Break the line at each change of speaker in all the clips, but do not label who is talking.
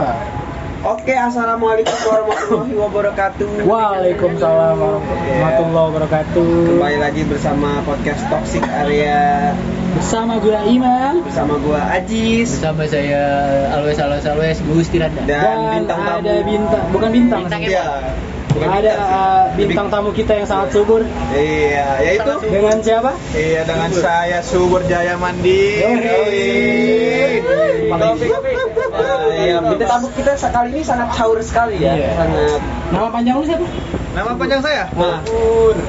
Wah.
Oke, assalamualaikum warahmatullahi wabarakatuh.
Waalaikumsalam warahmatullahi wabarakatuh.
Kembali lagi bersama podcast Toxic Area
Bersama gue Ima
bersama gua Ajis
bersama saya Alwes Alwes Alwes Gusti Randa.
dan,
dan
bintang tamu.
ada bintang, bukan bintang,
Bintang
sih.
Iya, bukan
ada
sih.
uh, bintang
Lebih-
tamu kita yang sangat subur
Iya, yaitu
dengan siapa?
Iya dengan
Subur.
saya Subur Jaya Mandi.
Yoi. Topik. Ah, Iya, bintang tamu kita sekali ini sangat caur sekali ya,
Iya.
sangat.
Nama panjang lu siapa?
Nama panjang saya?
Nah,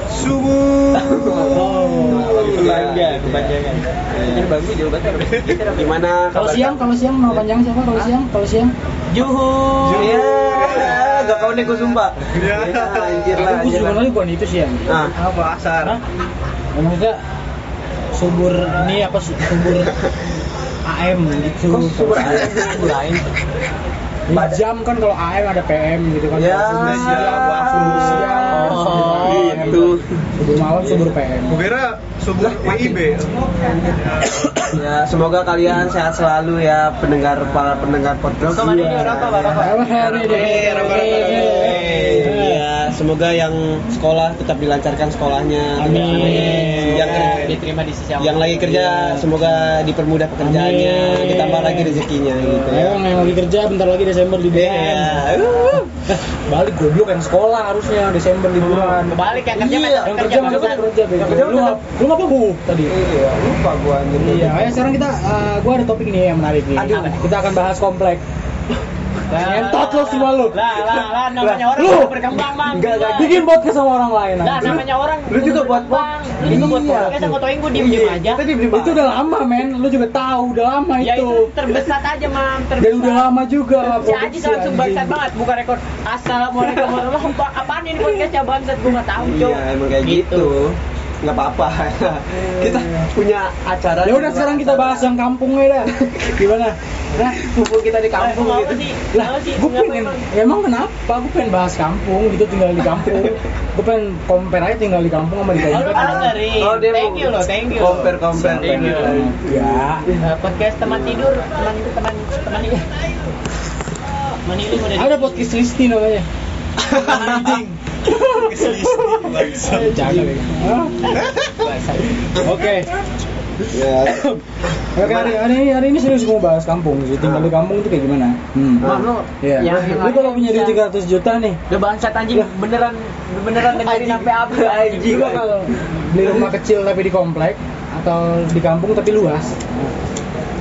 Subur.
kepanjangan, kepanjangan. Ini bagus jawabannya. Gimana?
Kalau
kabar
siang, kalau siang nama panjang siapa? Kalau siang, kalau siang.
Iya. Juhu. Iya, gak kau nih gue sumpah.
Iya.
Ya, anjir lah,
Oh. Aku
anjir lah.
sebenarnya bukan itu siang.
Ah,
Apa asar?
Hah? Ya, Maksudnya subur ini apa su- subur AM gitu.
Kok subur AM?
Subur AM. Di jam kan kalau AM ada PM gitu kan.
Ya.
Subur siang, subur siang,
Oh,
subur AM.
gitu. Iya.
Subur malam, subur PM.
Kukira Subur PIB.
ya semoga kalian sehat selalu ya pendengar para pendengar podcast. Iya.
Rokok mana ini? Rokok, rokok. Rokok mana ini?
Eh, rokok, rokok, rokok.
Eh.
Iya, semoga yang sekolah tetap dilancarkan sekolahnya.
Amin.
Yang
Diterima di sisi Allah.
yang lagi
Iya.
kerja semoga dipermudah pekerjaannya,
Amin.
ditambah lagi rezekinya gitu ya.
Ayo yang lagi kerja bentar lagi Desember liburan.
Iya. Uh.
Balik goblok yang sekolah harusnya Desember liburan.
Kebalik yang kerja
Iya,
masih
Yang ya, kerja kan? masuk
barusan.
kerja bego.
Yang kerja
Lu ngap- lu ngapa bu tadi?
Iya, lupa gua anjir.
Iya, ayo sekarang kita, eh, gua ada topik nih yang menarik nih.
Aduh.
Kita akan bahas komplek.
Lah,
Ngentot lo semua lo.
Lah lah lah
Lah,
namanya orang
lu.
perlu berkembang bang.
Enggak, enggak.
Bikin.
Bikin podcast sama orang lain.
Lah
anjing.
Nah, namanya orang.
Lu juga buat
bang. Lu juga buat
Iya.
bang. Kita ngotoin gue diem
Iya,
diem aja.
Tadi beli
itu udah lama men, lu juga tahu udah lama
Ya itu
itu.
terbesat aja mam.
Dan udah lama juga nggak
Si
produksi,
Ajis langsung bangsat
anjing.
banget buka rekor. Assalamualaikum warahmatullahi wabarakatuh. Apaan ini ya, podcastnya bangsat gue nggak tahu
Iya,
cok.
emang kayak gitu. Nggak apa-apa.
Iya.
kita punya acara.
Ya udah sekarang kita bahas yang kampungnya dah. Gimana? Nah,
mumpung kita di
Kamu
kampung
mau
gitu.
sih?
lah
Mau sih?
gue
Nggak
pengen
apa-apa.
ya emang kenapa gue pengen bahas kampung gitu tinggal di kampung gue pengen compare aja tinggal di kampung sama di
Oh, lu
kota
malah ngeri.
Oh, dia
Thank
mau
you loh, thank you.
compare, compare.
Thank you.
ya
Eh, podcast teman tidur, teman teman teman ini. Teman ini udah
ada podcast listi namanya jangan Hah? oke
Ya.
Oke, hari, hari, hari ini serius mau bahas kampung sih. Tinggal di kampung itu kayak gimana? Hmm.
Mam, lu
Iya.
yang
Lu kalau punya duit 300 juta nih,
Udah bangsat anjing,
Ya.
beneran beneran dengerin sampai apa
lu
anjing.
bakal beli rumah kecil tapi di komplek atau di kampung tapi luas?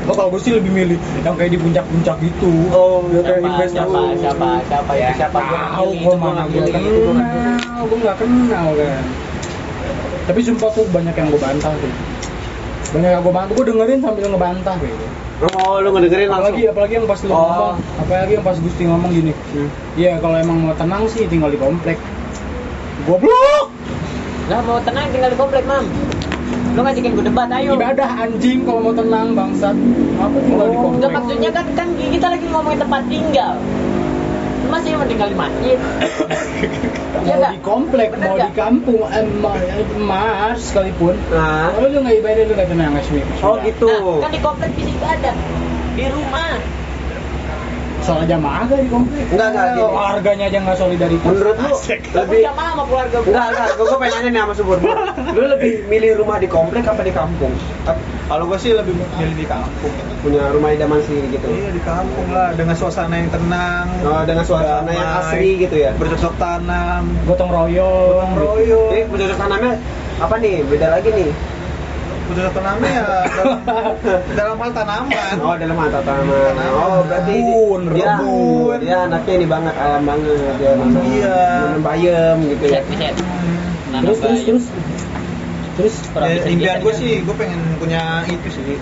Oh, kalau gue sih lebih milih yang kayak di puncak-puncak gitu.
Oh,
ya kayak
Siapa
invest
siapa
dulu.
siapa siapa ya siapa gua
Tahu
pilih,
gue
itu
mana gue
pilih,
gitu
itu gua
kan.
nggak pilih.
kenal, gue nggak kenal kan. Tapi sumpah tuh banyak yang gue bantah sih. Banyak yang gue bantah, gue dengerin sambil ngebantah gitu.
Oh, lu ngedengerin langsung.
Apalagi apalagi yang pas lu
Oh.
ngomong, apalagi yang pas Gusti ngomong gini.
Hmm.
Iya, kalau emang mau tenang sih tinggal di komplek. Goblok!
Lah mau tenang tinggal di komplek, Mam. Lu ngajakin gue debat, ayo.
Ibadah anjing kalau mau tenang bangsat. Apa tinggal di komplek?
Enggak maksudnya kan kan kita lagi ngomongin tempat tinggal. Lu Masih mau tinggal di masjid. Iya
mau
nggak?
di komplek,
Bener
mau
nggak?
di kampung, eh, ma- eh, mars sekalipun.
Nah.
Kalau lu nggak ibadah lu nggak tenang nggak sih?
Oh, gitu.
Nah, kan di komplek bisa ibadah. Di rumah.
Soal jamaah gak di komplek?
Enggak, enggak, gini.
Harganya aja nggak solidaritas.
Menurut lu
Lebih
lebih
jamaah sama keluarga gue.
Enggak, enggak, gue pengen nanya nih sama Subur Lu lebih milih rumah di komplek apa di kampung?
Kalau gue sih lebih milih di kampung.
Punya rumah idaman sendiri gitu
Iya di kampung lah dengan suasana yang tenang.
Oh, dengan suasana yang
damai,
asri gitu ya?
Iya, Bercocok tanam.
Gotong royong. gitu.
Gotong royong.
Jadi penduduk Eh, tanamnya apa nih? Beda lagi nih
Bercocok tanamnya ya dalam- dalam hal tanaman.
Oh, dalam mata tanaman Oh, berarti
Kebun,
dia,
rebun.
dia anaknya ini banget, alam banget dia
Iya.
Menem bayem gitu ya
Bisa, bisa. Nanam
Terus terus
bayi.
terus. Terus
Kurang
Eh,
Ya,
bisa
impian
digeser
gue
kan?
sih gue pengen punya itu sih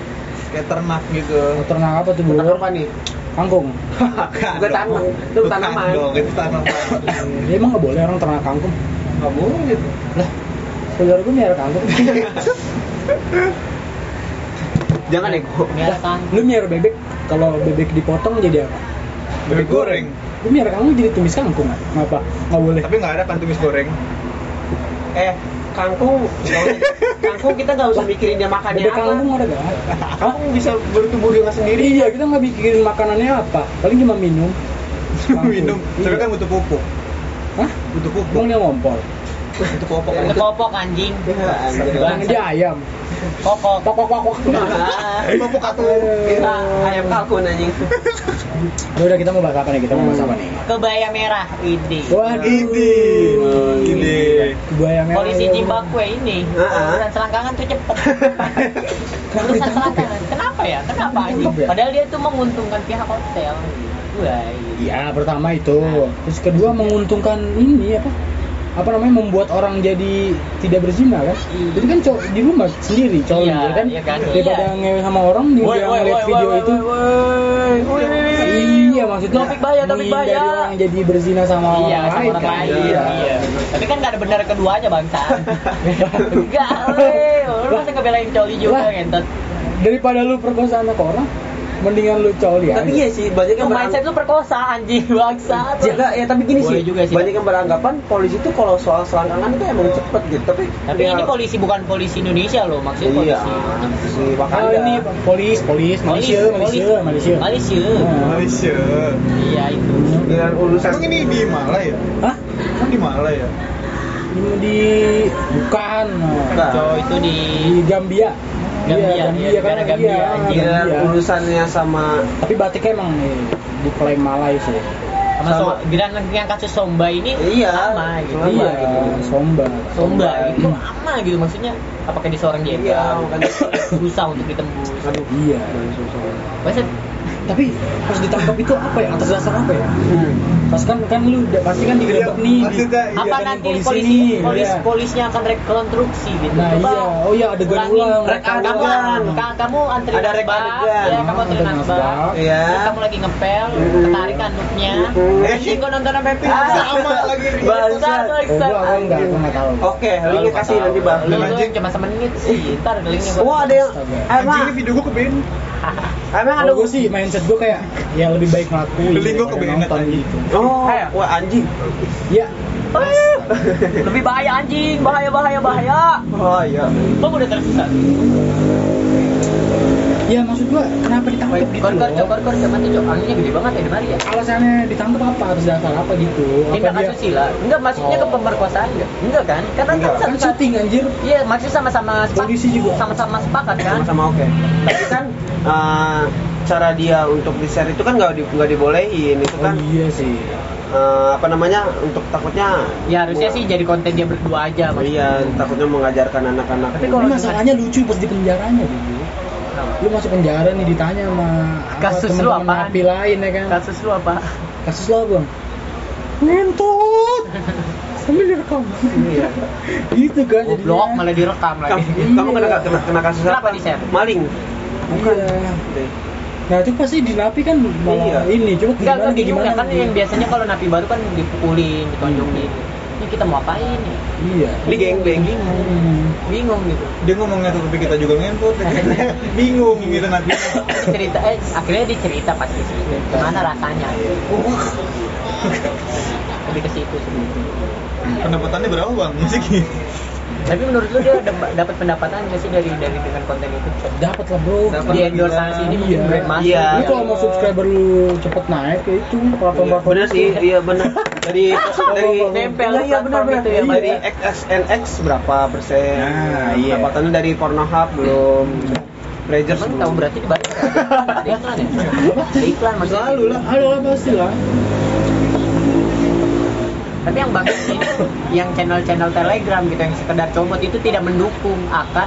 kayak ternak gitu.
ternak apa tuh
Tentang
dulu?
apa nih?
Kangkung.
Gue tanam, itu
Bukan
tanaman.
dong, itu tanaman.
Ya, emang nggak boleh orang ternak kangkung.
Nggak boleh.
Lah, saudara gue miara kangkung.
Jangan
ya,
ego
Miara kan.
Lu miara bebek, kalau bebek dipotong jadi apa?
Bebek goreng.
Lu miara kangkung jadi tumis kangkung. Kenapa? Nggak boleh.
Tapi nggak ada kan tumis goreng.
Eh, kangkung nggak usah- kangkung kita nggak usah mikirin dia makannya
Bebek
apa
kampung ada gak?
kangkung bisa bertumbuh dengan sendiri
Iya, kita nggak bikin makanannya apa. Paling cuma minum.
minum tapi kan butuh pupuk
Hah?
butuh pupuk
Bang dia ngompol.
butuh pupuk
kan?
Itu kopok anjing.
Ya, Iya, anjir.
Bang dia ayam.
Kokok.
Kok kok kok kok.
Ah,
pupuk atau
kita Iya, ayam kalkun anjing
Ya udah kita mau bahas apa nih? Kita mau bahas apa nih?
Kebaya merah ini.
Waduh.
ini
Oh, iya.
ini
Bayang
Polisi Zimbabwe ini.
Ah, ah.
Urusan selangkangan tuh cepet. Urusan selangkangan. Kenapa ya? Kenapa anjing?
Cakep ya?
Padahal dia tuh menguntungkan pihak hotel. Wah.
Iya, pertama itu. Terus kedua menguntungkan ini apa? Apa namanya membuat orang jadi tidak berzina kan?
Iya.
Jadi kan cowok di rumah sendiri cowok
Iya,
kan?
iya kan?
Daripada
Iya.
ngewe sama orang dia
Woi, woi,
ngeliat
woi,
video
woi,
itu.
woi, woi.
Iya maksudnya
Topik bahaya, topik
menghindari
bahaya.
orang jadi berzina sama orang
Iya, sama
lain
orang
kan?
lain.
Iya.
Iya. Tapi kan nggak ada benar keduanya bangsa. Enggak, weh. kan Lu masih ngebelain coli juga
Lah.
ngentot.
Daripada lu perkosa anak orang, mendingan lu coli aja.
tapi iya sih banyak
Itu
yang
mindset lu perkosa anjing bangsa.
Ya, enggak, ya tapi gini
Boleh
sih,
juga sih.
banyak yang beranggapan polisi itu kalau soal selangkangan itu emang cepet gitu tapi
Tapi ini polisi bukan polisi Indonesia loh, maksudnya
iya
polisi.
polisi
Oh,
Wakanda
ini polis, polis, Malaysia, Malaysia, Malaysia.
Malaysia.
Malaysia
Iya itu.
dengan urusan
emang ini di Malaya
Hah?
emang di Malaya
Ini di bukan.
Nah.
Cowok itu di
Di Gambia.
Gambia,
Iya, Gambia,
iya,
kan Gambia.
negara Gambia, anjing.
dengan Iya, urusannya sama
Tapi batiknya emang eh, diklaim Malay sih.
sama,
Sama.
so- bilang yang kasus Somba ini
Iya.
sama gitu.
Sama.
Iya, Somba.
Somba itu
Hmm.
sama gitu maksudnya apakah di seorang dia
Iya, makanya.
berusaha untuk ditembus.
aduh
Iya.
Maksudnya
Tapi pas ditangkap itu apa ya? Atas dasar apa ya?
Hmm.
Pas kan kan lu udah- pasti kan digerebek nih. di-
maksudnya iya.
apa
kan
nanti
polisi
polisi
nih,
polis
iya.
polisnya akan rekonstruksi gitu.
Nah,
Coba
iya. Oh, iya, adegan
ulangi.
ulang,
Rek-
adegan
Kamu
ulang.
ka- kamu antri
Ada rek
nasbah,
adegan.
ya, kamu antri
Ada
nasbah.
nasbah.
Iya.
Terus kamu lagi ngepel,
Mm.
ketarik anduknya.
Mm.
Anjing gua nonton sampai
Ah,
pingsan.
sama lagi.
Bangsat,
Oh,
bangsat.
gua, gua enggak, gua enggak tahu.
Oke,
Lalu
linknya
nggak
kasih
tahu.
nanti bang.
Lu- lu
Lanjut.
cuma semenit sih. Ntar linknya gua.
Wah ada yang,
anjing
emang,
ini video gue kebein
emang ada
Oh,
Kalau gue sih mindset gue kayak ya lebih baik ngelakuin
Beli gua
daripada
kebenet
nonton
aja.
gitu.
Oh, wah anjing.
Ya,
Eh, Lebih bahaya anjing, bahaya bahaya bahaya.
Oh iya.
Lo udah tersesat.
ya maksud gue kenapa ditangkap gitu?
Kor kor
loh?
cok kor kor sama tuh cok. Anginnya gede banget ya di mari ya.
Alasannya ditangkap apa? Atas dasar apa gitu? Apa
Tindak
dia
asusila. Enggak maksudnya ke
Oh.
pemerkosaan enggak? Enggak kan? Karena kan
kan
sama
syuting anjir?
Iya, maksudnya sama-sama sepakat.
Polisi juga.
Sama-sama sepakat kan?
Sama-sama oke. Tapi kan eh, cara dia untuk di share itu kan nggak di, nggak dibolehin itu
Oh
kan
iya sih.
eh, apa namanya untuk takutnya
Ya harusnya sih jadi konten dia berdua aja
iya
maksudnya.
takutnya mengajarkan anak-anak
Tapi
Tapi
kalau
masalahnya lucu pas di penjaranya dulu. Lu masuk penjara nih ditanya sama apa,
Kasus lu
teman-teman
apaan?
napi lain ya kan?
kasus lu apa?
Kasus lu bang? Ngentut. Sambil direkam.
Iya.
gitu kan
Goblok malah direkam
kamu,
lagi.
kamu kena, kena kena kasus
Kenapa
apa?
di share?
maling
Bukan. Nah itu pasti di napi kan malah
Iya.
ini coba
Enggak,
gimana
enggak
kayak
gimana
gimana?
kan yang biasanya kalau napi baru kan dipukulin, ditonjongin. Ini kita mau apain ya?
Iya.
Di Hmm. geng-geng.
Bingung.
Hmm.
Bingung gitu.
dia ngomongnya tuh tapi kita juga ngentut bingung gitu nanti
cerita eh akhirnya dicerita pasti sih gimana rasanya
Iya.
lebih ke situ sih
pendapatannya berapa bang musik
tapi menurut lu dia dem- dapat pendapatan nggak sih dari dari dengan konten itu
Dapat lah bro.
Dapat.
di endorse sana sini mungkin
Iya.
brand masuk
Iya.
Lu kalau mau subscriber lu cepet naik ya itu platform-platform
bener
itu.
sih iya bener dari dari
Nempel
iya, iya bener
platform
bener
itu ya, Mbak.
dari XSNX berapa persen
Nah, iya.
pendapatannya dari Pornhub belum Rangers
Emang tahu berarti di balik ada iklan ya? Ada iklan maksudnya.
Selalu lah, ada lah pasti lah.
Tapi yang bagus ini, yang channel-channel Telegram gitu yang sekedar comot itu tidak mendukung akan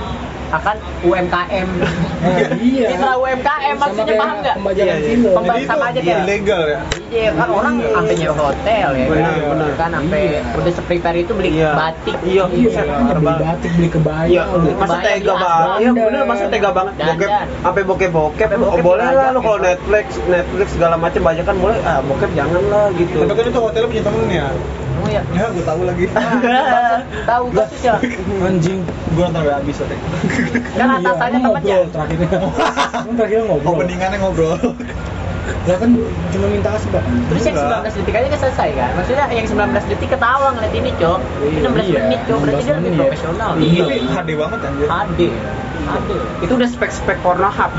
akan UMKM.
Nah, iya.
Mitra UMKM
Sama
maksudnya
kayak
paham nggak?
Pembajakan
Iya, iya.
film.
Pemba- sama aja kayak-
ilegal ya
Iya kan orang sampai nyewa hotel ya
Benar,
kan,
benar.
kan sampai
Iya.
udah seprepare itu beli
Iya.
batik.
Iya.
Iya, kan beli
Terbang.
batik, beli kebaya.
Iya,
lu.
Kebayang
masa
di
tega
atas
banget. Iya,
dandan.
bener masa tega banget.
Dandan.
Bokep, sampai bokep-bokep,
Sampai bokep
oh, boleh lah
diajak,
lo kalau
gitu.
Netflix, Netflix segala macam banyak kan boleh. Ah, bokep jangan lah gitu.
tapi kan itu hotelnya punya temen ya
Oh ya.
ya gue tahu lagi
Ah. Tahu kasusnya.
Anjing.
gue nonton gak habis hotel
Kan
Iya,
atasannya ya?
emang
temannya.
ngobrol terakhirnya. Emang terakhirnya ngobrol.
openingannya ngobrol
Lah kan cuma minta asbak.
Terus yang
Enggak.
19 detik aja udah selesai kan? Maksudnya yang 19 detik ketawa ngeliat ini, Cok. Ini 16
Iya,
menit, Cok. Berarti dia
16
lebih
menit.
profesional.
Iya.
Ini HD banget anjir.
HD. HD. Itu udah spek-spek Pornhub.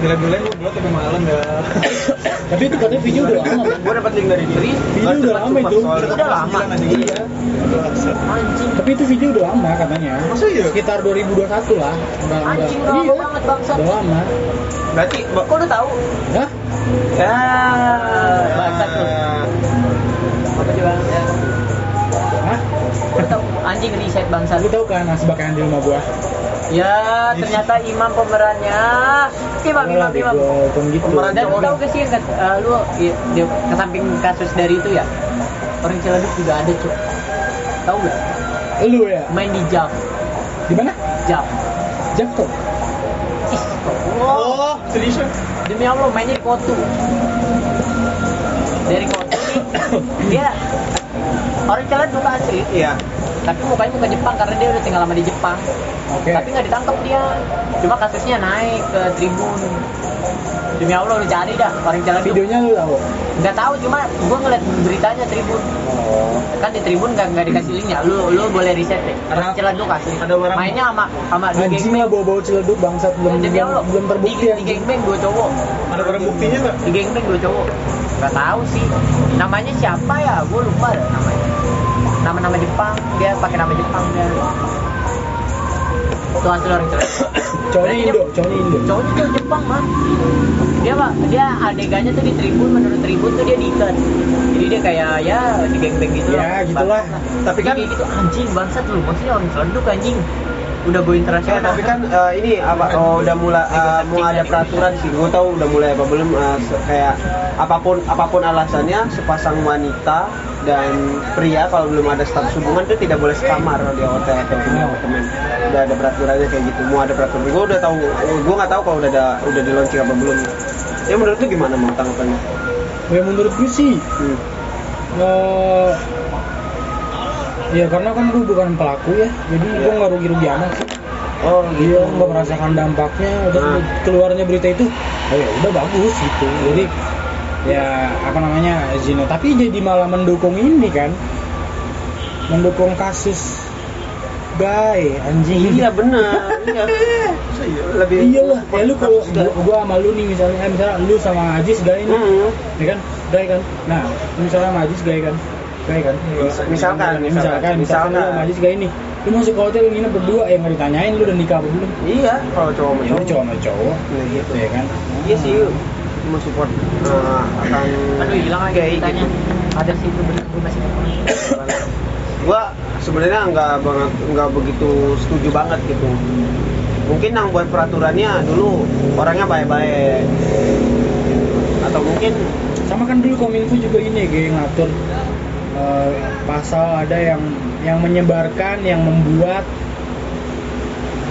Gila-gila gue buat tapi malam ya. dah.
Tapi itu katanya video udah lama.
kan
Gue dapat link dari diri.
Video udah lama itu.
Udah lama.
Iya.
Anjing.
Tapi itu video udah lama katanya.
Masa iya?
Sekitar 2021 lah. Udah udah-
Anjing udah lama
Iya,
banget bangsat.
Udah lama.
Berarti ba-
Kok udah tahu?
Hah?
Ya,
Ah.
bangsat tuh. Apa sih bang? Ya.
Hah?
Kok udah tahu anjing riset bangsat.
Lu tau kan asbak yang di rumah gua?
Ya, ternyata imam pemerannya. Imam, imam, imam.
Kan gitu.
Pemeran dan lu tahu gak sih yang kat- eh, lu i- di- ke samping kasus dari itu ya? Orang Ciledug juga ada, Cok. Tahu gak?
Lu ya?
Main di jam,
Di mana?
jam.
Jakto.
Ih, Allah.
Oh, seriusan?
Demi Allah mainnya di Kotu. Dari Kotu nih, dia orang Ciledug asli.
Iya.
Tapi mukanya muka Jepang karena dia udah tinggal lama di Jepang.
Oke.
Tapi nggak ditangkap dia. Cuma kasusnya naik ke Tribun. Demi Allah lu cari dah orang Ciledug.
Videonya lu tahu?
Nggak tahu cuma gua ngeliat beritanya Tribun.
Oh.
kan di Tribun nggak nggak dikasih linknya lu lu boleh riset deh
Ada-
ada celah kasih
ada orang-
mainnya sama sama di
Anjing
gangbang
lah bawa-bawa celeduk bangsat belum
Demi
belum,
Allah,
belum terbukti
di,
ya.
di gangbang dua cowok
Ada barang buktinya nggak?
di gangbang dua cowok nggak tahu sih namanya siapa ya gue lupa dah namanya nama-nama Jepang dia pakai nama Jepang dia itu hasil orang celah
Cowoknya Indo, cowoknya Indo.
cowoknya cowok Jepang mah dia pak dia adegannya tuh di Tribun menurut Tribun tuh dia diikat jadi dia kayak ya di gangbang gitu
Ya, gitulah.
Tapi kan-
Jadi gitu anjing bangsat lu maksudnya orang Ciledug anjing udah go internasional
tapi kan eh, ini apa oh, udah mulai eh, mau ada peraturan sih gue tahu udah mulai apa belum eh, se- kayak apapun apapun alasannya sepasang wanita dan pria kalau belum ada status hubungan itu tidak boleh sekamar di hotel atau di apartemen udah ada peraturannya kayak gitu mau ada peraturan gue udah tahu gue nggak tahu kalau udah ada udah di launching apa belum ya menurut lu gimana mau tanggapannya
Ya menurut gue sih
hmm.
eh, Ya karena kan gue bukan pelaku ya, jadi gue
Iya.
nggak rugi-rugi amat sih.
oh
Dia nggak merasakan dampaknya, udah
Nah.
keluarnya berita itu, oh ya udah bagus gitu. Jadi
Hmm.
ya apa namanya Zino, tapi jadi malah mendukung ini kan, mendukung kasus gay anjing.
iya benar iya
Masa iya?
lebih
iyalah ya lu kalau
Kasus
gua,
dan-
gua sama lu nih misalnya eh, misalnya lu sama Ajis gay nih
Mm-mm.
ya kan gay kan nah lu misalnya sama Ajis gay kan gay kan
Nggak.
Hmm. misalkan
Ya, misalkan
misalkan,
misalkan lu sama Ajis gay nih lu masuk ke hotel nginep berdua yang nggak ditanyain lu udah nikah apa belum
iya kalau cowok sama
ya lu cowok sama cowok
Ya, gitu.
gitu ya kan
Iya sih, mau support uh, akan
aduh hilang lagi
kayak
ceritanya
gitu.
ada sih itu bener gue masih nggak pernah.
Gua sebenarnya nggak banget nggak begitu setuju banget gitu. Mungkin yang buat peraturannya dulu orangnya baik-baik atau mungkin
sama kan dulu kominfo juga ini kayak ngatur eh, pasal ada yang yang menyebarkan yang membuat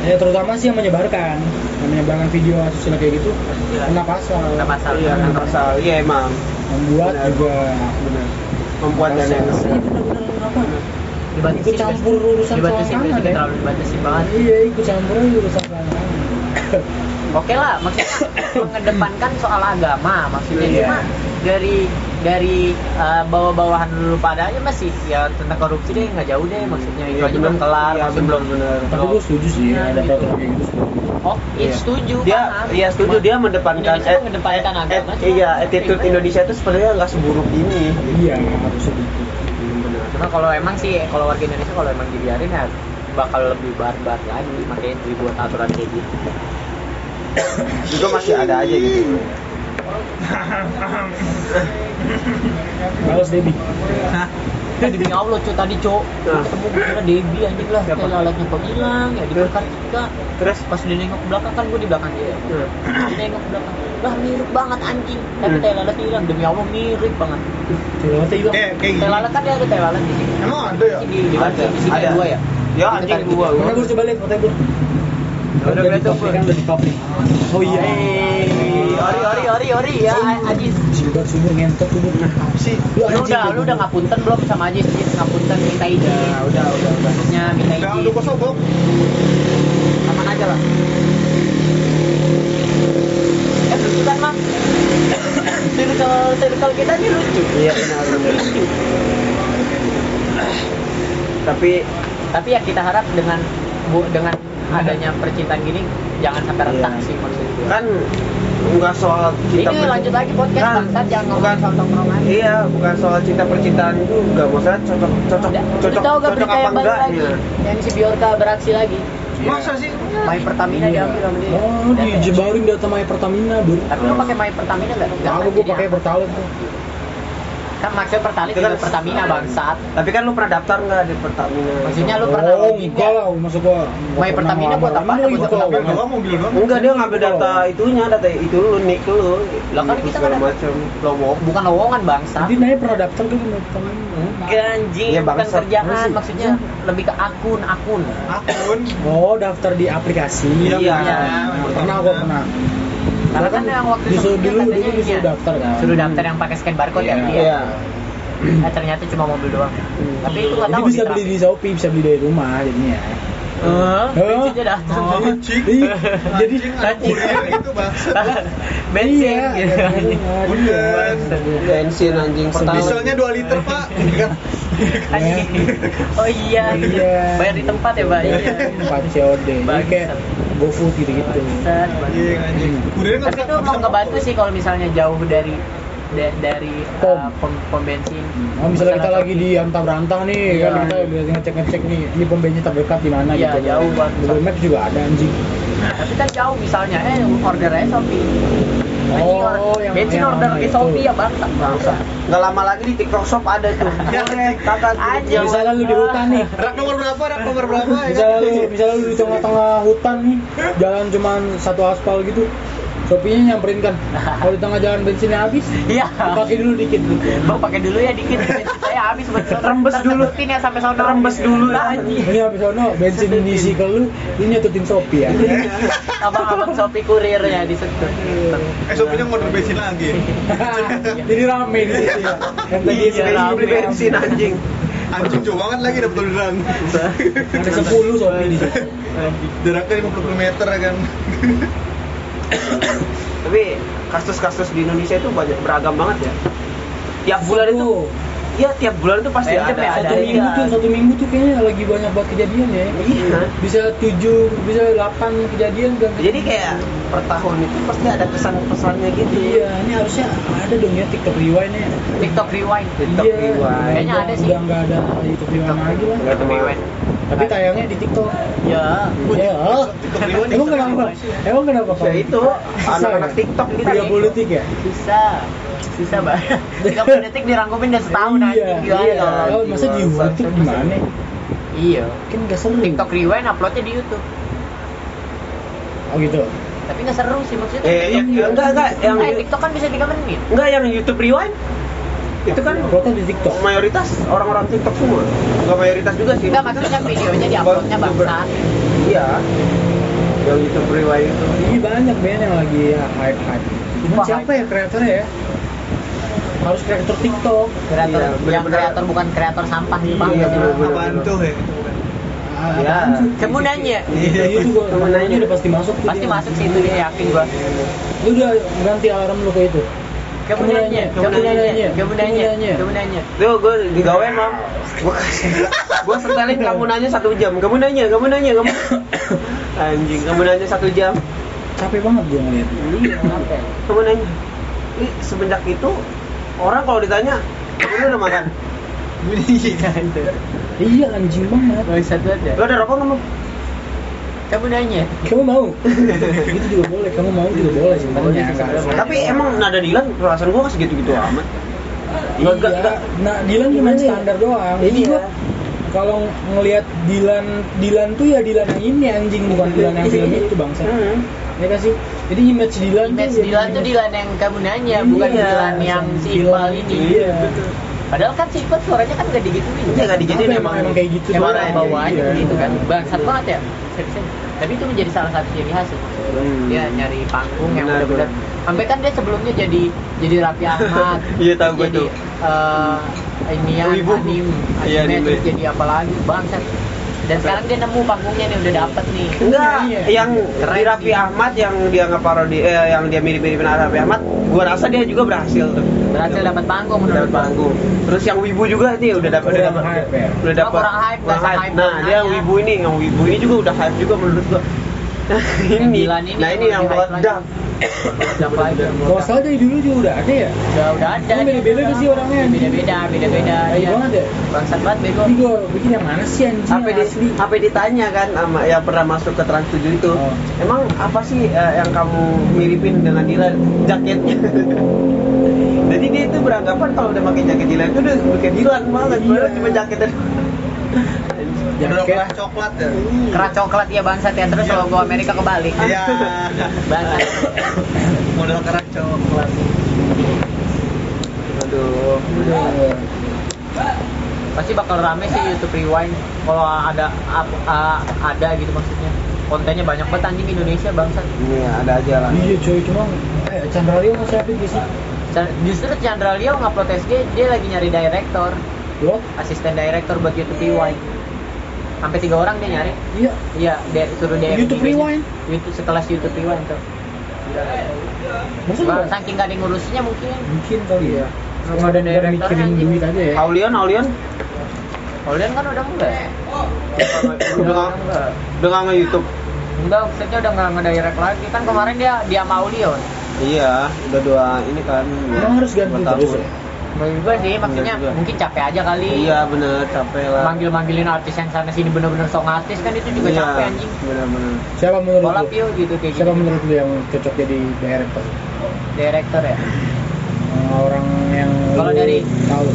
ya terutama sih yang menyebarkan yang menyebarkan video asusila kayak gitu
Asusila.
kena pasal
Kena pasal.
iya
Iya,
kan pasal iya emang
membuat
Benar.
juga
benar membuat dan
Pasal.
Iya,
lain-lain.
dibatasi
Ikut campur urusan
dibatasi
soal tangan, ya.
terlalu dibatasi banget
iya ikut campur aja urusan orang
Oke lah, maksudnya mengedepankan soal agama, maksudnya
Iya.
cuma dari dari eh, bawah-bawahan dulu padanya masih ya tentang korupsi deh nggak jauh deh maksudnya
Iya,
itu aja
bener.
belum kelar,
Iya,
masih
bener,
belum
bener.
tapi gue setuju sih
Nah,
ada
gitu.
peraturan kayak gitu setuju.
Oh, iya
Iya.
setuju.
Dia
paham.
iya setuju
Cuma
dia mendepankan
Indonesia mengedepankan
eh,
agama, cuma-
iya attitude Indonesia itu sebenarnya nggak seburuk ini.
iya harus segitu
Cuma kalau emang sih kalau warga Indonesia kalau emang dibiarin ya bakal lebih barbar lagi makanya dibuat aturan kayak gitu.
Juga masih ada aja gitu.
balas Debbie
Hah?
Ya demi Allah cuy tadi cuy
Nah.
ketemu gue kira Debi anjing lah
Siapa?
kayak alatnya kok hilang ya dibakar juga
Terus
pas dia nengok ke belakang kan gue di belakang
Iya.
dia Dia nengok ke belakang lah mirip banget anjing tapi
Hmm.
tai lalat hilang demi Allah mirip banget
Cilawatnya hilang
Kayak kayak
tai
gini.
lalat kan dia ada tai lalat di sini
Emang ada ya?
di di Banten di sini
Ada.
ada dua ya
Ya,
Di
anjing,
tarik
dua.
tiga.
mana gue coba lihat fotonya gue
Udah
Udah di
lihat
top
apa?
nih, kan udah di top nih oh iya
Hei,
Iya.
ori ori ori ori ya Ajis
Sudah subur ngentot subur
Apa sih?
Iya,
lu udah lu udah ngapunten belum sama Ajis Ajis ngapunten minta izin
Udah, Iya, udah, udah, udah.
maksudnya minta
Jangan
izin
lupa sobok.
aman aja lah eh berusukan mah circle circle kita ini lucu
Iya benar benar. Tapi
tapi ya kita harap dengan bu dengan adanya percintaan gini jangan sampai retak
Iya.
sih maksud gue
kan nggak soal
ini
cinta
lanjut lagi podcast
Kan,
bangsat jangan ngomongin
bukan.
soal tongkrongan
Iya, bukan soal cinta percintaan itu nggak masalah cocok cocok
Udah.
cocok
Lu tahu gak
cocok
berita
apa
yang baru
enggak
lagi
ya.
yang si Biorka beraksi lagi Iya.
Masa sih?
My Pertamina diambil sama dia
Oh,
Iya.
Lihat ya.
dijebarin data My Pertamina, Bro.
tapi lu pakai My Pertamina nggak? Nggak,
Aku gue
jadi
pakai
apa?
Pertalite. tuh.
kan maksudnya Pertalite
Itu
juga
kan-
Pertamina bangsat
Tapi kan lu pernah daftar nggak di Pertamina?
Maksudnya lu- pernah
Oh,
login
enggak
ya?
lah, maksud gua.
My Pertamina buat apa?
Lu
Buat
ikut
apa?
Mobil
login.
doang, mobil doang.
Enggak dia ngambil data itunya, data itu lu nick lu.
Lah kan
Itu
kita
Oh. segala
kan ada-
macam lowong.
bukan lowongan bangsat
Jadi nanya pernah daftar ke My Pertamina? ya.
ganjing
Iya,
bukan
bangsat.
kerjaan
Masih.
maksudnya lebih ke akun akun
Akun.
Oh, daftar di aplikasi.
Iya.
Iya.
Pernah gua pernah.
karena kan yang waktu
disuruh
sebelumnya
dulu dulu
katanya ini
disuruh
ya,
daftar kan.
suruh daftar yang pakai scan barcode ya
Iya.
dia
Iya.
Nah, ternyata cuma mobil doang tapi itu
Jadi
nggak tahu
bisa beli di Shopee, bisa beli dari rumah jadinya.
Eh, bensinnya datang
Oh, cik.
Ih,
Jadi
jadi
anjing gitu, kurir itu bangsat.
bensin
Iya,
gitu.
Bener.
Iya,
Bensin anjing pertama.
Dieselnya 2 liter, Pak. Kan
Anjing. oh iya
Iya.
bayar di tempat ya bayar
Empat COD. Jadi kayak GoFood gitu-gitu.
Bangsat, bangsat.
Iya, anjing. Kurirnya nggak
tapi itu mau ngebantu sih kalau misalnya jauh dari da- dari
Pom.
uh, pom, pom bensin
Oh, misalnya kita lagi di antar rantah nih,
Iya.
kan kita lihat ngecek ngecek nih, ini pom bensin terdekat di mana
Iya,
gitu.
jauh banget.
Google Maps juga ada anjing.
tapi kan jauh misalnya eh order aja Shopee Anjing,
Oh,
or-
yang-
bensin
yang
order di
itu.
Shopee ya bangsa
Bangsa. Nggak lama lagi di TikTok Shop ada tuh.
Ya,
Kakak
Anjing.
tuh.
Misalnya lu di hutan nih,
Rak nomor berapa? Rak nomor berapa? ya
Iya.
misalnya
kan?
lu, misalnya lu di tengah-tengah hutan nih, jalan cuman satu aspal gitu, Shopee-nya nyamperin kan. Kalau di tengah jalan bensinnya habis,
iya
pakai dulu dikit. gitu.
Bang pakai dulu ya dikit bensin saya habis buat sono.
Rembes
Ntar
dulu.
kebetin ya sampai sono.
Rembes dulu ya.
Nah, anjing.
Ini habis ono bensin diisi ke lu, ini nyetutin Shopee ya.
Iya.
Abang-abang Shopee kurirnya di situ.
Eh, sopirnya mau bensin lagi.
Jadi rame di situ ya. Yang tadi
Iya,
sebelum
rame.
Beli bensin anjing.
Anjing jauh banget lagi dapat orderan.
Ada 10 Shopee di situ.
Jaraknya 50 km kan.
Tapi kasus-kasus di Indonesia itu banyak beragam banget ya. Tiap bulan itu,
Satu.
iya,
ya tiap bulan itu pasti
Random
ada.
ya,
satu
ada,
minggu
iya.
tuh satu minggu tuh kayaknya lagi banyak banget kejadian ya
Iya.
bisa tujuh bisa delapan kejadian dan
Jadi kayak per tahun itu pasti ada kesan-pesannya gitu.
iya ini harusnya ada dong ya TikTok rewind ya
TikTok rewind.
TikTok
Iya.
rewind. Iya.
Kayaknya ada sih.
udah nggak ada YouTube rewind lagi lah
Nggak teman.
tapi tayangnya di TikTok
Iya.
Ya.
ya
TikTok rewind.
emang kenapa emang kenapa
Ya itu anak-anak TikTok gitu.
tiga puluh detik ya
Bisa. Bisa, Bang. 30 detik dirangkumin udah setahun anjing.
iya,
Gila. ya.
iya. Oh,
dong.
masa di YouTube gimana
Iya.
kan nggak seru
TikTok rewind uploadnya di YouTube.
oh gitu
Tapi nggak seru sih maksudnya.
Eh, yang- yang- enggak enggak yang
eh, TikTok kan bisa 3 menit.
enggak yang YouTube rewind. Itu kan
uploadnya di TikTok
mayoritas orang-orang TikTok semua. Enggak mayoritas juga sih.
Enggak maksudnya videonya diuploadnya bangsa.
Iya. Yang YouTube rewind itu.
ini banyak band yang lagi ya, hype hype Ini
Wah,
siapa ya kreatornya ya harus kreator TikTok
Kreator
Iya,
yang
bener-bener.
kreator bukan kreator sampah gitu paham
Iya,
nggak sih, Bang?
bener-bener.
Apaan tuh ya?
Iya.
Kamu nanya.
Ah, Iya, itu gua
Temen nanya.
udah pasti masuk tuh
Pasti
dia.
masuk sih itu dia yakin gua.
Lu udah ganti alarm lu ke itu.
Kamu nanya, kamu nanya, kamu nanya, kamu nanya.
Tuh gue digawain mam Gue Gue setelin kamu nanya satu jam Kamu nanya, kamu nanya, kamu Anjing, kamu nanya satu jam
Capek banget gua ngeliat.
Iya,
Kenapa?
kamu nanya Ih, semenjak itu Orang kalau ditanya Lu udah makan?
Iya anjing banget.
Gak bisa tuh
Lu
ada.
Ya udah rokok nggak, Mam?
Kamu nanya.
Kamu mau? itu juga boleh. Kamu mau juga boleh sebenarnya.
Boleh,
Nggak
boleh.
harus.
Tapi emang nada Dilan perasaan gue nggak segitu-gitu amat Nggak, nggak,
Iya.
nggak.
Nah, Dilan cuma
Gimana ya?
standar doang. Jadi
Iya.
gua kalau ngelihat Dilan Dilan tuh ya Dilan yang ini anjing bukan Dilan yang film itu bangsa.
Hmm.
Ya kan sih? Jadi image Dilan
Match
ya
Dilan tuh
image-
Dilan yang kamu nanya, bukan
Iya.
Dilan yang si
Dilan
Iqbal ini.
Iya.
Padal kan si Iqbal suaranya kan gak digituin.
Iya, nggak digituin
Apa
emang
emang kayak gitu
Emang
Suaranya,
orang bawaannya
iya.
begitu kan. Bangsat banget ya. Seriusan. Tapi itu menjadi salah satu ciri khas ya.
Hmm.
Dia nyari panggung yang
Benar,
benar-benar. Sampai kan dia sebelumnya jadi jadi Raffi Ahmad.
Iya, tahu gua
jadi,
tuh.
eh, ini ya
Wibu.
anim,
Iya,
anime,
anime.
terus jadi apa lagi bangsat. dan sekarang dia nemu panggungnya nih udah dapet nih
Enggak,
Iya.
yang
Keren
di Raffi
sih.
Ahmad yang dia ngeparodi eh, yang dia mirip-miripin Raffi Ahmad, gua rasa dia juga berhasil tuh.
berhasil dapat panggung menurut
Dapat panggung. Terus yang Wibu juga nih udah dapat udah
Kurang
dapat
hype ya.
udah
Cuma
dapat
kurang hype,
kurang
rasa
hype.
hype ya.
Nah,
kurang
dia yang
ada.
Wibu ini, yang Wibu ini juga udah hype juga menurut gua. Nah,
Yang
ini,
Dilan ini
nah ini yang
yang lebih hype
meledak.
gua. Udah baik, udah
Kalau
meledak.
salah dari dulu juga udah ada ya.
udah udah ada
Ini beda-beda
dia.
tuh sih orangnya.
beda-beda beda-beda
Tai
dia.
banget ya.
bangsat banget bego
Ini gue bikin yang mana sih anjing?
Sampai di
Iya, asli.
sampai ditanya kan sama yang pernah masuk ke Trans 7 itu.
Oh.
Emang apa sih eh, yang kamu miripin dengan Dilan jaketnya? Jadi dia itu beranggapan kalau udah pakai jaket Dilan itu udah bukan Dilan banget,
Iya.
padahal cuma jaketnya.
Belum
Jaket.
pernah coklat ya.
kerat coklat ya bangsat ya terus
Iya.
logo Amerika kebalik
Iya.
bangsat
Model kerak coklat.
Aduh.
Udah.
pasti bakal rame sih YouTube Rewind kalau ada ap- a- ada gitu maksudnya kontennya banyak banget anjing Indonesia bangsat
Ini ada aja lah.
Iya cuy, cuma eh, Chandra Leo masih update gak sih?
Chan- justru Chandra Leo nggak protes dia dia lagi nyari director
Blok?
asisten director buat YouTube Rewind sampai tiga orang dia nyari
Iya.
iya dia suruh dia
YouTube Rewind?
YouTube setelah YouTube Rewind tuh
Masa
Bang,
gak?
saking gak ada yang ngurusinnya mungkin
Mungkin kali ya.
Iya. Sama ada
Cuma
gitu. directornya
mikirin
anjing.
duit aja ya.
Aulion, Aulion.
Holden kan udah enggak
Udah
enggak
dengan nge-YouTube.
enggak maksudnya udah nggak ngedirect lagi kan kemarin dia dia mau Leon
Iya, udah dua ini kan.
Emang harus ganti
dua
terus
tahun.
ya?
juga sih maksudnya
juga.
mungkin capek aja kali
Iya bener, capek lah.
manggil-manggilin artis yang sana sini bener-bener song artis kan itu juga
Iya,
capek anjing
Bener-bener.
Siapa menurut
kolab
lu?
yuk gitu kayak
Siapa
gitu
menurut lu yang cocok jadi director?
director ya
Eh, Orang yang
Kalau
lu
dari-
tahu.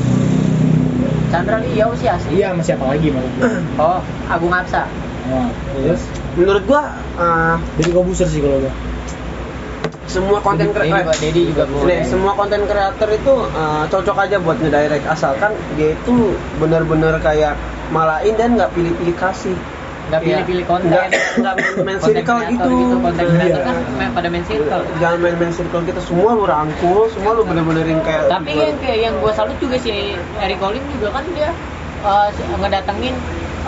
Chandra Leo sih asli
Iya, sama siapa lagi menurut lu?
oh Agung Absa
Nah, terus
Menurut gua eh,
jadi kobuser sih kalau gua.
semua konten
Dedi
kreator
juga Dedi juga boleh
Nih, semua konten kreator itu eh, cocok aja buat ngedirect asalkan dia itu bener-bener kayak malain dan nggak pilih-pilih kasih.
nggak pilih-pilih konten
Iya. Nggak- nggak main- main
Konten
circle
kreator
gitu.
konten
Iya.
kreator kan main- pada main circle
Jangan main-main circle kita semua lu rangkul, semua lu bener-benerin kayak
tapi yang kayak yang gue salut juga si Eric Colin juga kan dia uh, si- ngedatengin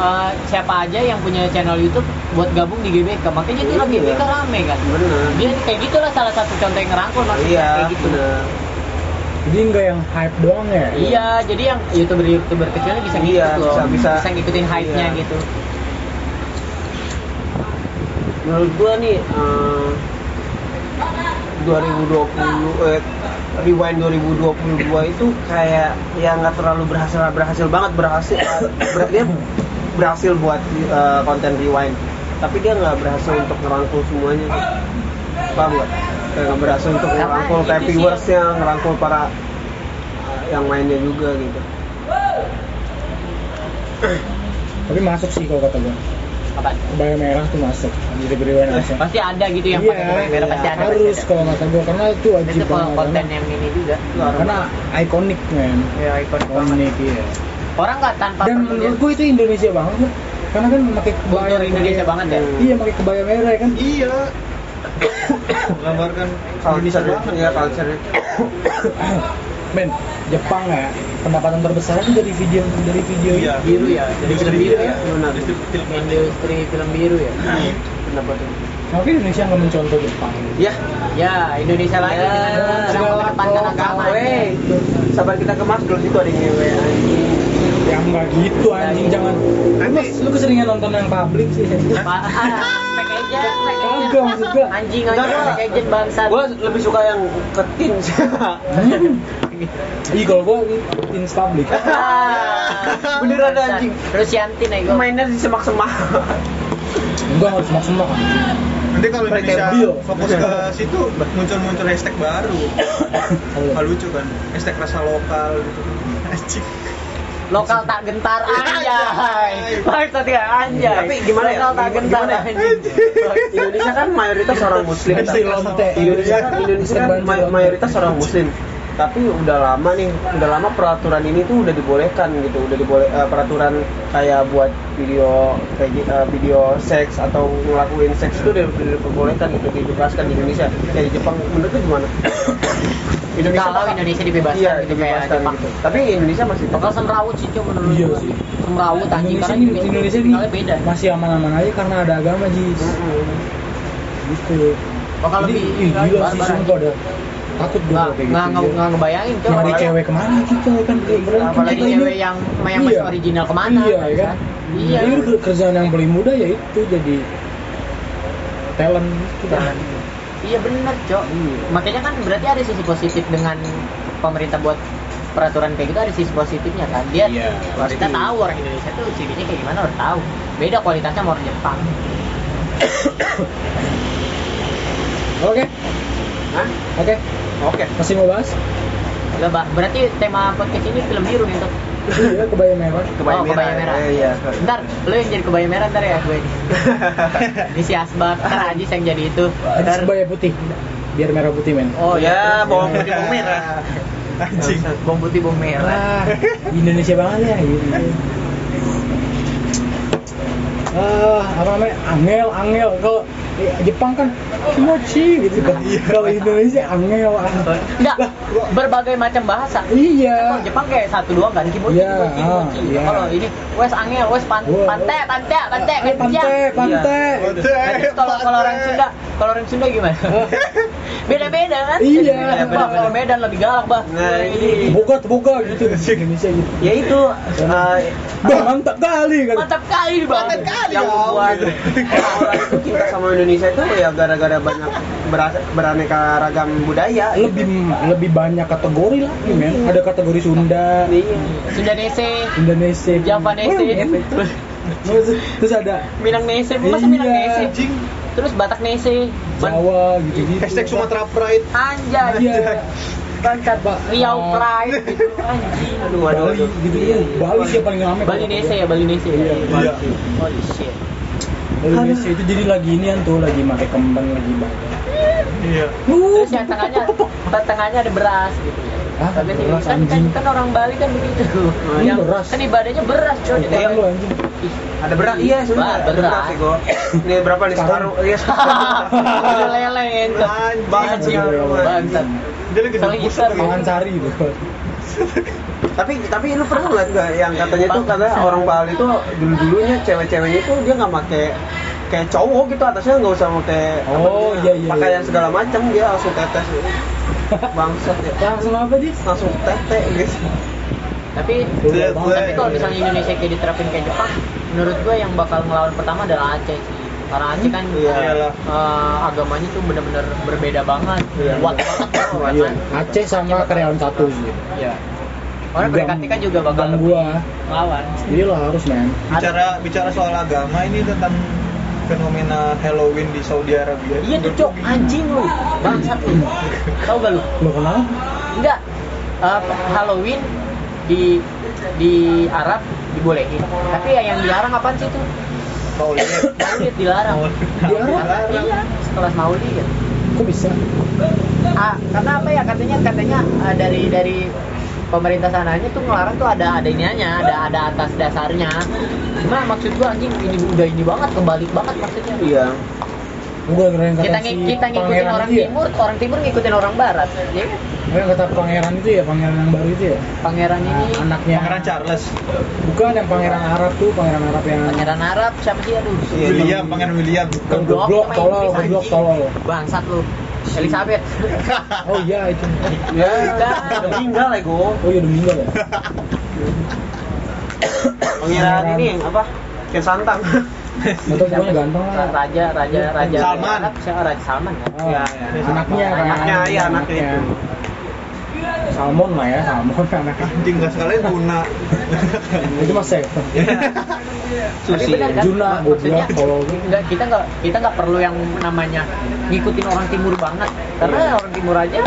uh, siapa aja yang punya channel YouTube buat gabung di GBK makanya dia
Iya.
GBK rame kan
bener.
dia kayak gitulah salah satu contoh yang ngerangkul maksudnya
Iya,
kayak gitu
bener.
Jadi nggak yang hype doang ya?
iya jadi yang youtuber youtuber kecilnya bisa ngikut
Iya,
loh
bisa- bisa.
ngikutin hype nya
Iya.
gitu
menurut gua nih eh, 2020 eh, rewind 2022 itu kayak ya nggak terlalu berhasil berhasil banget berhasil eh, ber- dia berhasil buat eh, konten rewind tapi dia nggak berhasil untuk ngerangkul semuanya paham nggak Kayak nggak berhasil untuk
Karena
ngerangkul
itu
kayak
sih
viewersnya ngerangkul para eh, yang mainnya juga gitu
Tapi masuk sih kalau kata gua.
apa
Kebaya merah tuh masuk. Jadi beriwan masuk.
pasti ada gitu yang
Iya,
pakai kebaya merah pasti ada
harus
pasti ada.
kalau kata gua karena itu
itu
wajib
kalau
banget.
konten yang ini juga
karena, karena ikonik men.
ya ikon
Ikonik iya.
orang nggak tanpa
Dan
perlu dia-
menurut gua itu Indonesia banget. lah. Karena kan pakai kebaya
Kultur Indonesia banget ya.
Iya, pakai kebaya merah kan.
Iya. Gambarkan
culture ya culture
Men, Jepang ya, pendapatan terbesar kan dari video dari video
Iya.
itu.
biru ya jadi film biru ya
Iya. benar
industri film biru ya
pendapat lu.
Kenapa Indonesia nggak mencontoh Jepang?
ya
ya Indonesia lagi
Ya,
dengan orang
segala
mengedepankan agama
Weh, sabar kita ke Mas dulu itu ada yang ngewe anjing.
Ya nggak gitu anjing, jangan. Mas, lu keseringan nonton yang publik sih.
Apaan? Pack agent, pack agent.
Enggak, maksud gua.
anjing anjing
Enggak,
pack agent bangsa
Gua lebih suka yang ketin sih.
Hmm. Ih, kalau gua ins public.
Beneran anjing.
terus Yanti Ah. nego
Mainnya di semak-semak.
Enggak harus maksimal.
Nanti kalau
Pakai
Indonesia
bio.
fokus ke situ muncul-muncul hashtag baru.
Iya.
Nggak lucu kan? Hashtag rasa lokal gitu. Anjing.
lokal tak gentar anjay maksud ya anjay
Tapi gimana ya?
lokal tak
Gimana-
gentar
gimana ya?
anjing
Indonesia kan mayoritas orang muslim.
Hashtag lonte.
Indonesia kan Indonesia kan may- mayoritas orang muslim. Tapi udah lama nih, udah lama peraturan ini tuh udah dibolehkan gitu, udah diboleh eh, peraturan kayak buat video kayak gi- eh, video seks atau ngelakuin seks itu udah udah diperbolehkan gitu dibebaskan di Indonesia. Kayak di Jepang menurut lu gimana? Indonesia
kalau
bakal-
Indonesia dibebaskan
iya,
gitu, kayak
dibebaskan
Jepang.
gitu. tapi Indonesia masih
Bakal semrawut sih cuma menurut
Iya
gua.
sih.
Semrawut anjing
Indonesia
karena
ini
juga
Indonesia ini
tinggalnya beda. Oh,
masih aman-aman aja karena ada agama jis
Mm-mm.
gitu
Bakal
Jadi,
lebih
ih, gila sih
barbar-barbar.
sumpah ada takut gue
Nggak
kayak
nggak
gitu
nggak ngebayangin tuh.
nyari
apalagi-
cewek kemana kita kan beneran kan
Apalagi
kita ini-
cewek yang yang masih
Iya.
original kemana?
iya ya
bisa.
kan
Iya.
iya itu kerjaan yang paling mudah ya itu jadi talent gitu kan. kita
Iya bener cok. Makanya kan berarti ada sisi positif dengan pemerintah buat peraturan kayak gitu ada sisi positifnya kan dia
Iya, pasti.
kita tahu orang Indonesia tuh cirinya kayak gimana orang tahu beda kualitasnya sama orang Jepang
oke
Hah?
oke
oke
masih mau bahas
Udah, Bah. berarti tema podcast ini film biru gitu. nih Tok.
iya kebaya merah
kebaya
Oh,
merah,
kebaya merah.
Eh, iya
ntar lo yang jadi kebaya merah ntar ya gue ini ini si Asbak ntar Ajis yang jadi itu
ada
ntar
kebaya putih biar merah putih men
oh ya bawang putih
putih, bawang merah.
merah
anjing
bawang putih bawang merah
Ah.
Wah, Indonesia banget ya gitu. Ah, apa namanya? Angel, angel. Kalau eh, Jepang kan kimochi gitu kan.
Iya.
Kalau Indonesia angel, angel.
enggak berbagai macam bahasa
Iya.
Kalau Jepang kayak satu doang kan, kimochi,
Iya,
kimochi, kimochi.
ah, iya.
Kalau ini, wes angel, wes pan,
Wah.
pante, pante, pante,
Eh, pantai, pantai.
Iya. Nanti Nah, kalau kalau orang Sunda, kalau orang Sunda gimana? Beda-beda kan?
Iya,
Beda-beda. Bah,
beda-beda.
Kalau Medan lebih galak, bah.
Nah, ini.
Boga, boga gitu. Indonesia gitu.
ya itu eh,
Bah, mantap kali kan.
Mantap kali, bah.
Mantap kali,
Ya
yang
Wow,
buat
gitu.
Ya orang itu cinta sama Indonesia itu ya gara-gara banyak beras- beraneka ragam budaya gitu.
Lebih lebih banyak kategori lagi, men. Ada kategori Sunda,
Iya.
Sunda Nese,
Indonesia,
Java Nese,
terus ada
Minang Nese, masa Minang
Iya.
Nese?
anjing
Terus Batak Nese, Ban-
Jawa gitu-gitu.
hashtag Sumatera Pride
Anjay,
Iya. Oh.
Bangsat, Riau Pride, gitu, anjing.
aduh aduh
Bali
aduh
gitu ya. Bali sih yang paling ramai.
Bali Nese ya, Bali Nese.
Iya.
Iya.
Holy shit.
Bali Nese itu jadi lagi ini tuh lagi pakai kembang lagi banyak.
iya
Wuh,
terus yang tengahnya tengahnya ada beras gitu ya
Hah?
tapi ini
Beras
kan, kan,
anjing.
kan orang Bali kan begitu yang
beras. Iya,
kan ibadahnya beras coy di
Orang lu
tengah.
anjing.
Ih,
ada berat iya
Wah,
sebenarnya ada
berat.
berat sih gua ini berapa nih separuh iya
Ah, udah gitu. lele ente.
Anjing.
Anjing.
bangsat
dia lagi
Soalnya
dibungkus
kita
lagi.
Pangan sari itu.
tapi tapi lu pernah nggak nggak yang katanya tuh kata orang Bali tuh dulu dulunya cewek-ceweknya tuh dia nggak pakai kayak cowok gitu atasnya nggak usah pakai apa
Oh,
namanya,
iya, iya,
pakaian
iya.
segala macam dia langsung tetes gitu. bangsat ya
Langsung apa dia?
langsung tetes gitu
tapi
Lihat gue.
Iya. tapi kalau misalnya Indonesia kayak diterapin kayak Jepang menurut gue yang bakal ngelawan pertama adalah Aceh sih karena Aceh kan
Iya.
Iyalah.
eh, agamanya tuh bener-bener berbeda banget
Iya.
kuat banget bro, kan?
Iya. Aceh sama karyawan satu sih.
Iya. orang berdekatikan juga bakal
Gang
lebih
gua.
ngelawan
Jadi lo harus men.
bicara bicara soal agama ini tentang fenomena Halloween di Saudi Arabia
Iya tuh cok, anjing lu, bangsat lu. Tahu gak lu?
Lo kenapa?
Enggak. Eh, Halloween di di Arab dibolehin. Tapi ya yang dilarang apaan sih itu?
mau lihat
Maulid dilarang.
Dilarang?
Iya, sekelas maulid. ya.
Kok bisa?
Ah, karena apa ya katanya katanya ah, dari dari pemerintah sananya tuh ngelarang tuh ada ada iniannya, ada ada atas dasarnya. Cuma maksud gua anjing ini udah ini banget kebalik banget maksudnya.
iya
Gua keren kata
Kita
si
ngi- kita ngikutin
pangeran
orang
itu ya.
timur, orang timur ngikutin orang barat. Ya kan?
Yang kata pangeran itu ya, pangeran yang baru itu ya.
Pangeran
Nah,
ini
anaknya
Pangeran Charles
bukan yang pangeran Arab tuh, pangeran Arab yang
Pangeran Arab siapa sih aduh?
Iya,
William Pangeran William
Yang goblok,
sama
tolol,
Inggris,
goblok,
anjing.
tolol.
Bangsat lu. ya? Elizabeth.
Oh iya itu.
ya udah meninggal ya gua
Oh iya udah meninggal ya.
pengiran ini apa Ken Santang
Atau pokoknya ganteng lah.
Raja, raja, raja.
Salman.
Arab, siapa Raja Salman kan?
Oh,
Ya,
ya.
anaknya kan.
Anaknya, iya, anaknya itu.
Salmon lah ya, salmon anaknya.
anjing nggak sekalian guna
Itu mas Sef.
Tapi
Susi
benar kan?
Juna,
Mak-
goblok,
maksudnya iya,
tolol.
enggak kita enggak kita enggak perlu yang namanya ngikutin orang timur banget. Karena
Iya.
orang timur aja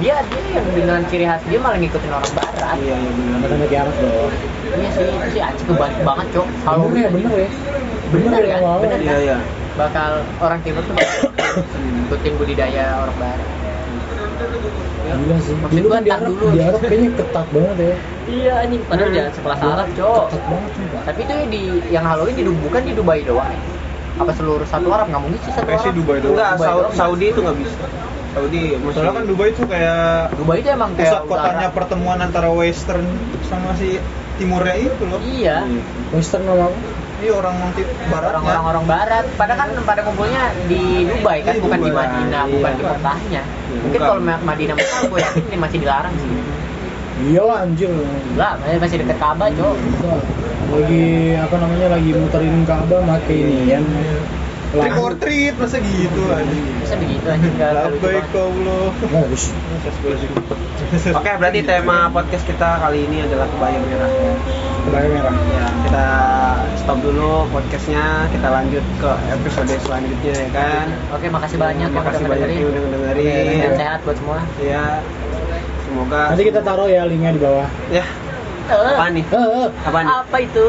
dia dia yang dengan ciri khas dia malah ngikutin orang barat.
iya iya benar
Kata Nabi Arab loh.
Iya sih, itu sih anjing kebalik banget, Cok. Kalau
Bener ya, bener ya. Bener
Bener
ya,
kan?
wow.
Bener.
iya iya
bakal orang timur tuh bakal ngikutin budidaya orang barat.
Gila sih.
Maksud
Dulu
gua
kan di
tar
Arab,
dulu.
di Arab kayaknya ketat banget ya.
Iya anjing, padahal jalan sekelas Arab, Cok.
Ketat banget juga.
Tapi itu di yang Halloween di bukan di Dubai doang. ya? Apa seluruh satu Arab nggak mungkin sih satu
Messi
Arab.
Dubai doang
ya.
enggak Sau- Saudi itu nggak bisa Saudi masih
Soalnya kan Dubai tuh kayak
Dubai itu emang
pusat
kayak
kotanya
Ya, utara.
pertemuan antara Western sama si Timurnya itu loh.
Iya.
Western sama apa?
Iya orang nanti baratnya.
Orang-orang orang barat, padahal kan pada kumpulnya di Dubai kan,
Di
bukan di
Dubai,
Madinah,
iya.
bukan di kotanya. Mungkin
bukan.
kalau Ma- Madinah Mekah, gue yakin ini masih dilarang sih.
Iyalah Iya anjir.
Enggak, masih dekat Ka'bah, Cok.
Lagi apa namanya lagi muterin Ka'bah pakai ini yang
Trick or treat masa gitu anjing.
Bisa begitu anjing enggak lucu
Labbaik
banget.
kau loh.
Bagus.
Oke, berarti tema podcast kita kali ini adalah kebaya merah. ya.
Kebaya merah.
Ya, kita stop dulu podcastnya, kita lanjut ke episode selanjutnya ya kan.
Oke, makasih banyak yang udah
Makasih banyak
dengerin.
yang udah
Dan
dengerin.
sehat buat semua.
Ya, semoga.
Nanti kita taruh ya linknya di bawah.
Ya,
Eh,
apa nih?
Eh, eh,
Apa nih?
apa itu?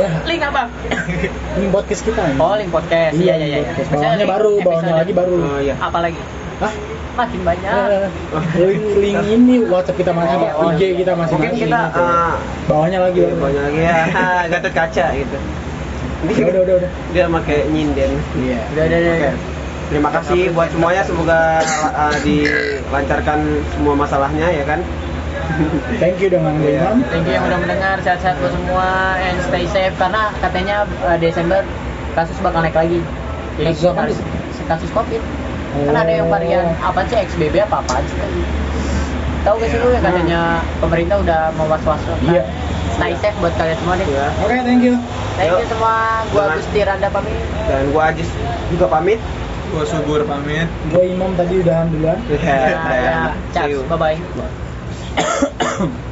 Iya.
Link apa?
ini podcast kita ini.
Oh, link podcast. Iya, iya, iya.
podcast.
Misalnya
Bawahnya
link
baru, bawahnya
episode. Iya.
lagi baru.
Oh ya.
Apa lagi?
Hah?
Makin banyak.
Eh, link link ini WhatsApp kita masih apa?
iya,
Oh,
IG kita masih
Mungkin kita
ya.
eh,
bawahnya lagi
iya,
baru.
banyak lagi ya. Gatot kaca gitu.
Ya, udah udah udah.
Dia pakai nyinden.
Iya.
Udah, udah, udah.
Oke. Terima kasih buat semuanya, semoga uh, dilancarkan semua masalahnya ya kan.
Thank you dengan
Iya.
Imam.
Thank you yang udah mendengar, sehat-sehat buat semua and stay safe karena katanya uh, Desember kasus bakal naik lagi. Jadi
Kasus apa? Oh.
harus kasus Covid. Kan ada yang varian apa sih XBB apa apa sih? Tahu gak sih lu yang katanya pemerintah udah mewas-was
Iya.
Stay safe buat kalian semua deh.
Ya.
Oke, thank you.
Thank you
Yuk.
semua. Gua
Selamat.
Gusti Randa pamit.
Dan gua Ajis juga pamit.
Gua subur pamit.
Eh,
iya. Nah,
Gue Imam tadi udahan duluan.
Ya,
Ya, ya.
See
Ciao.
you.
Bye bye.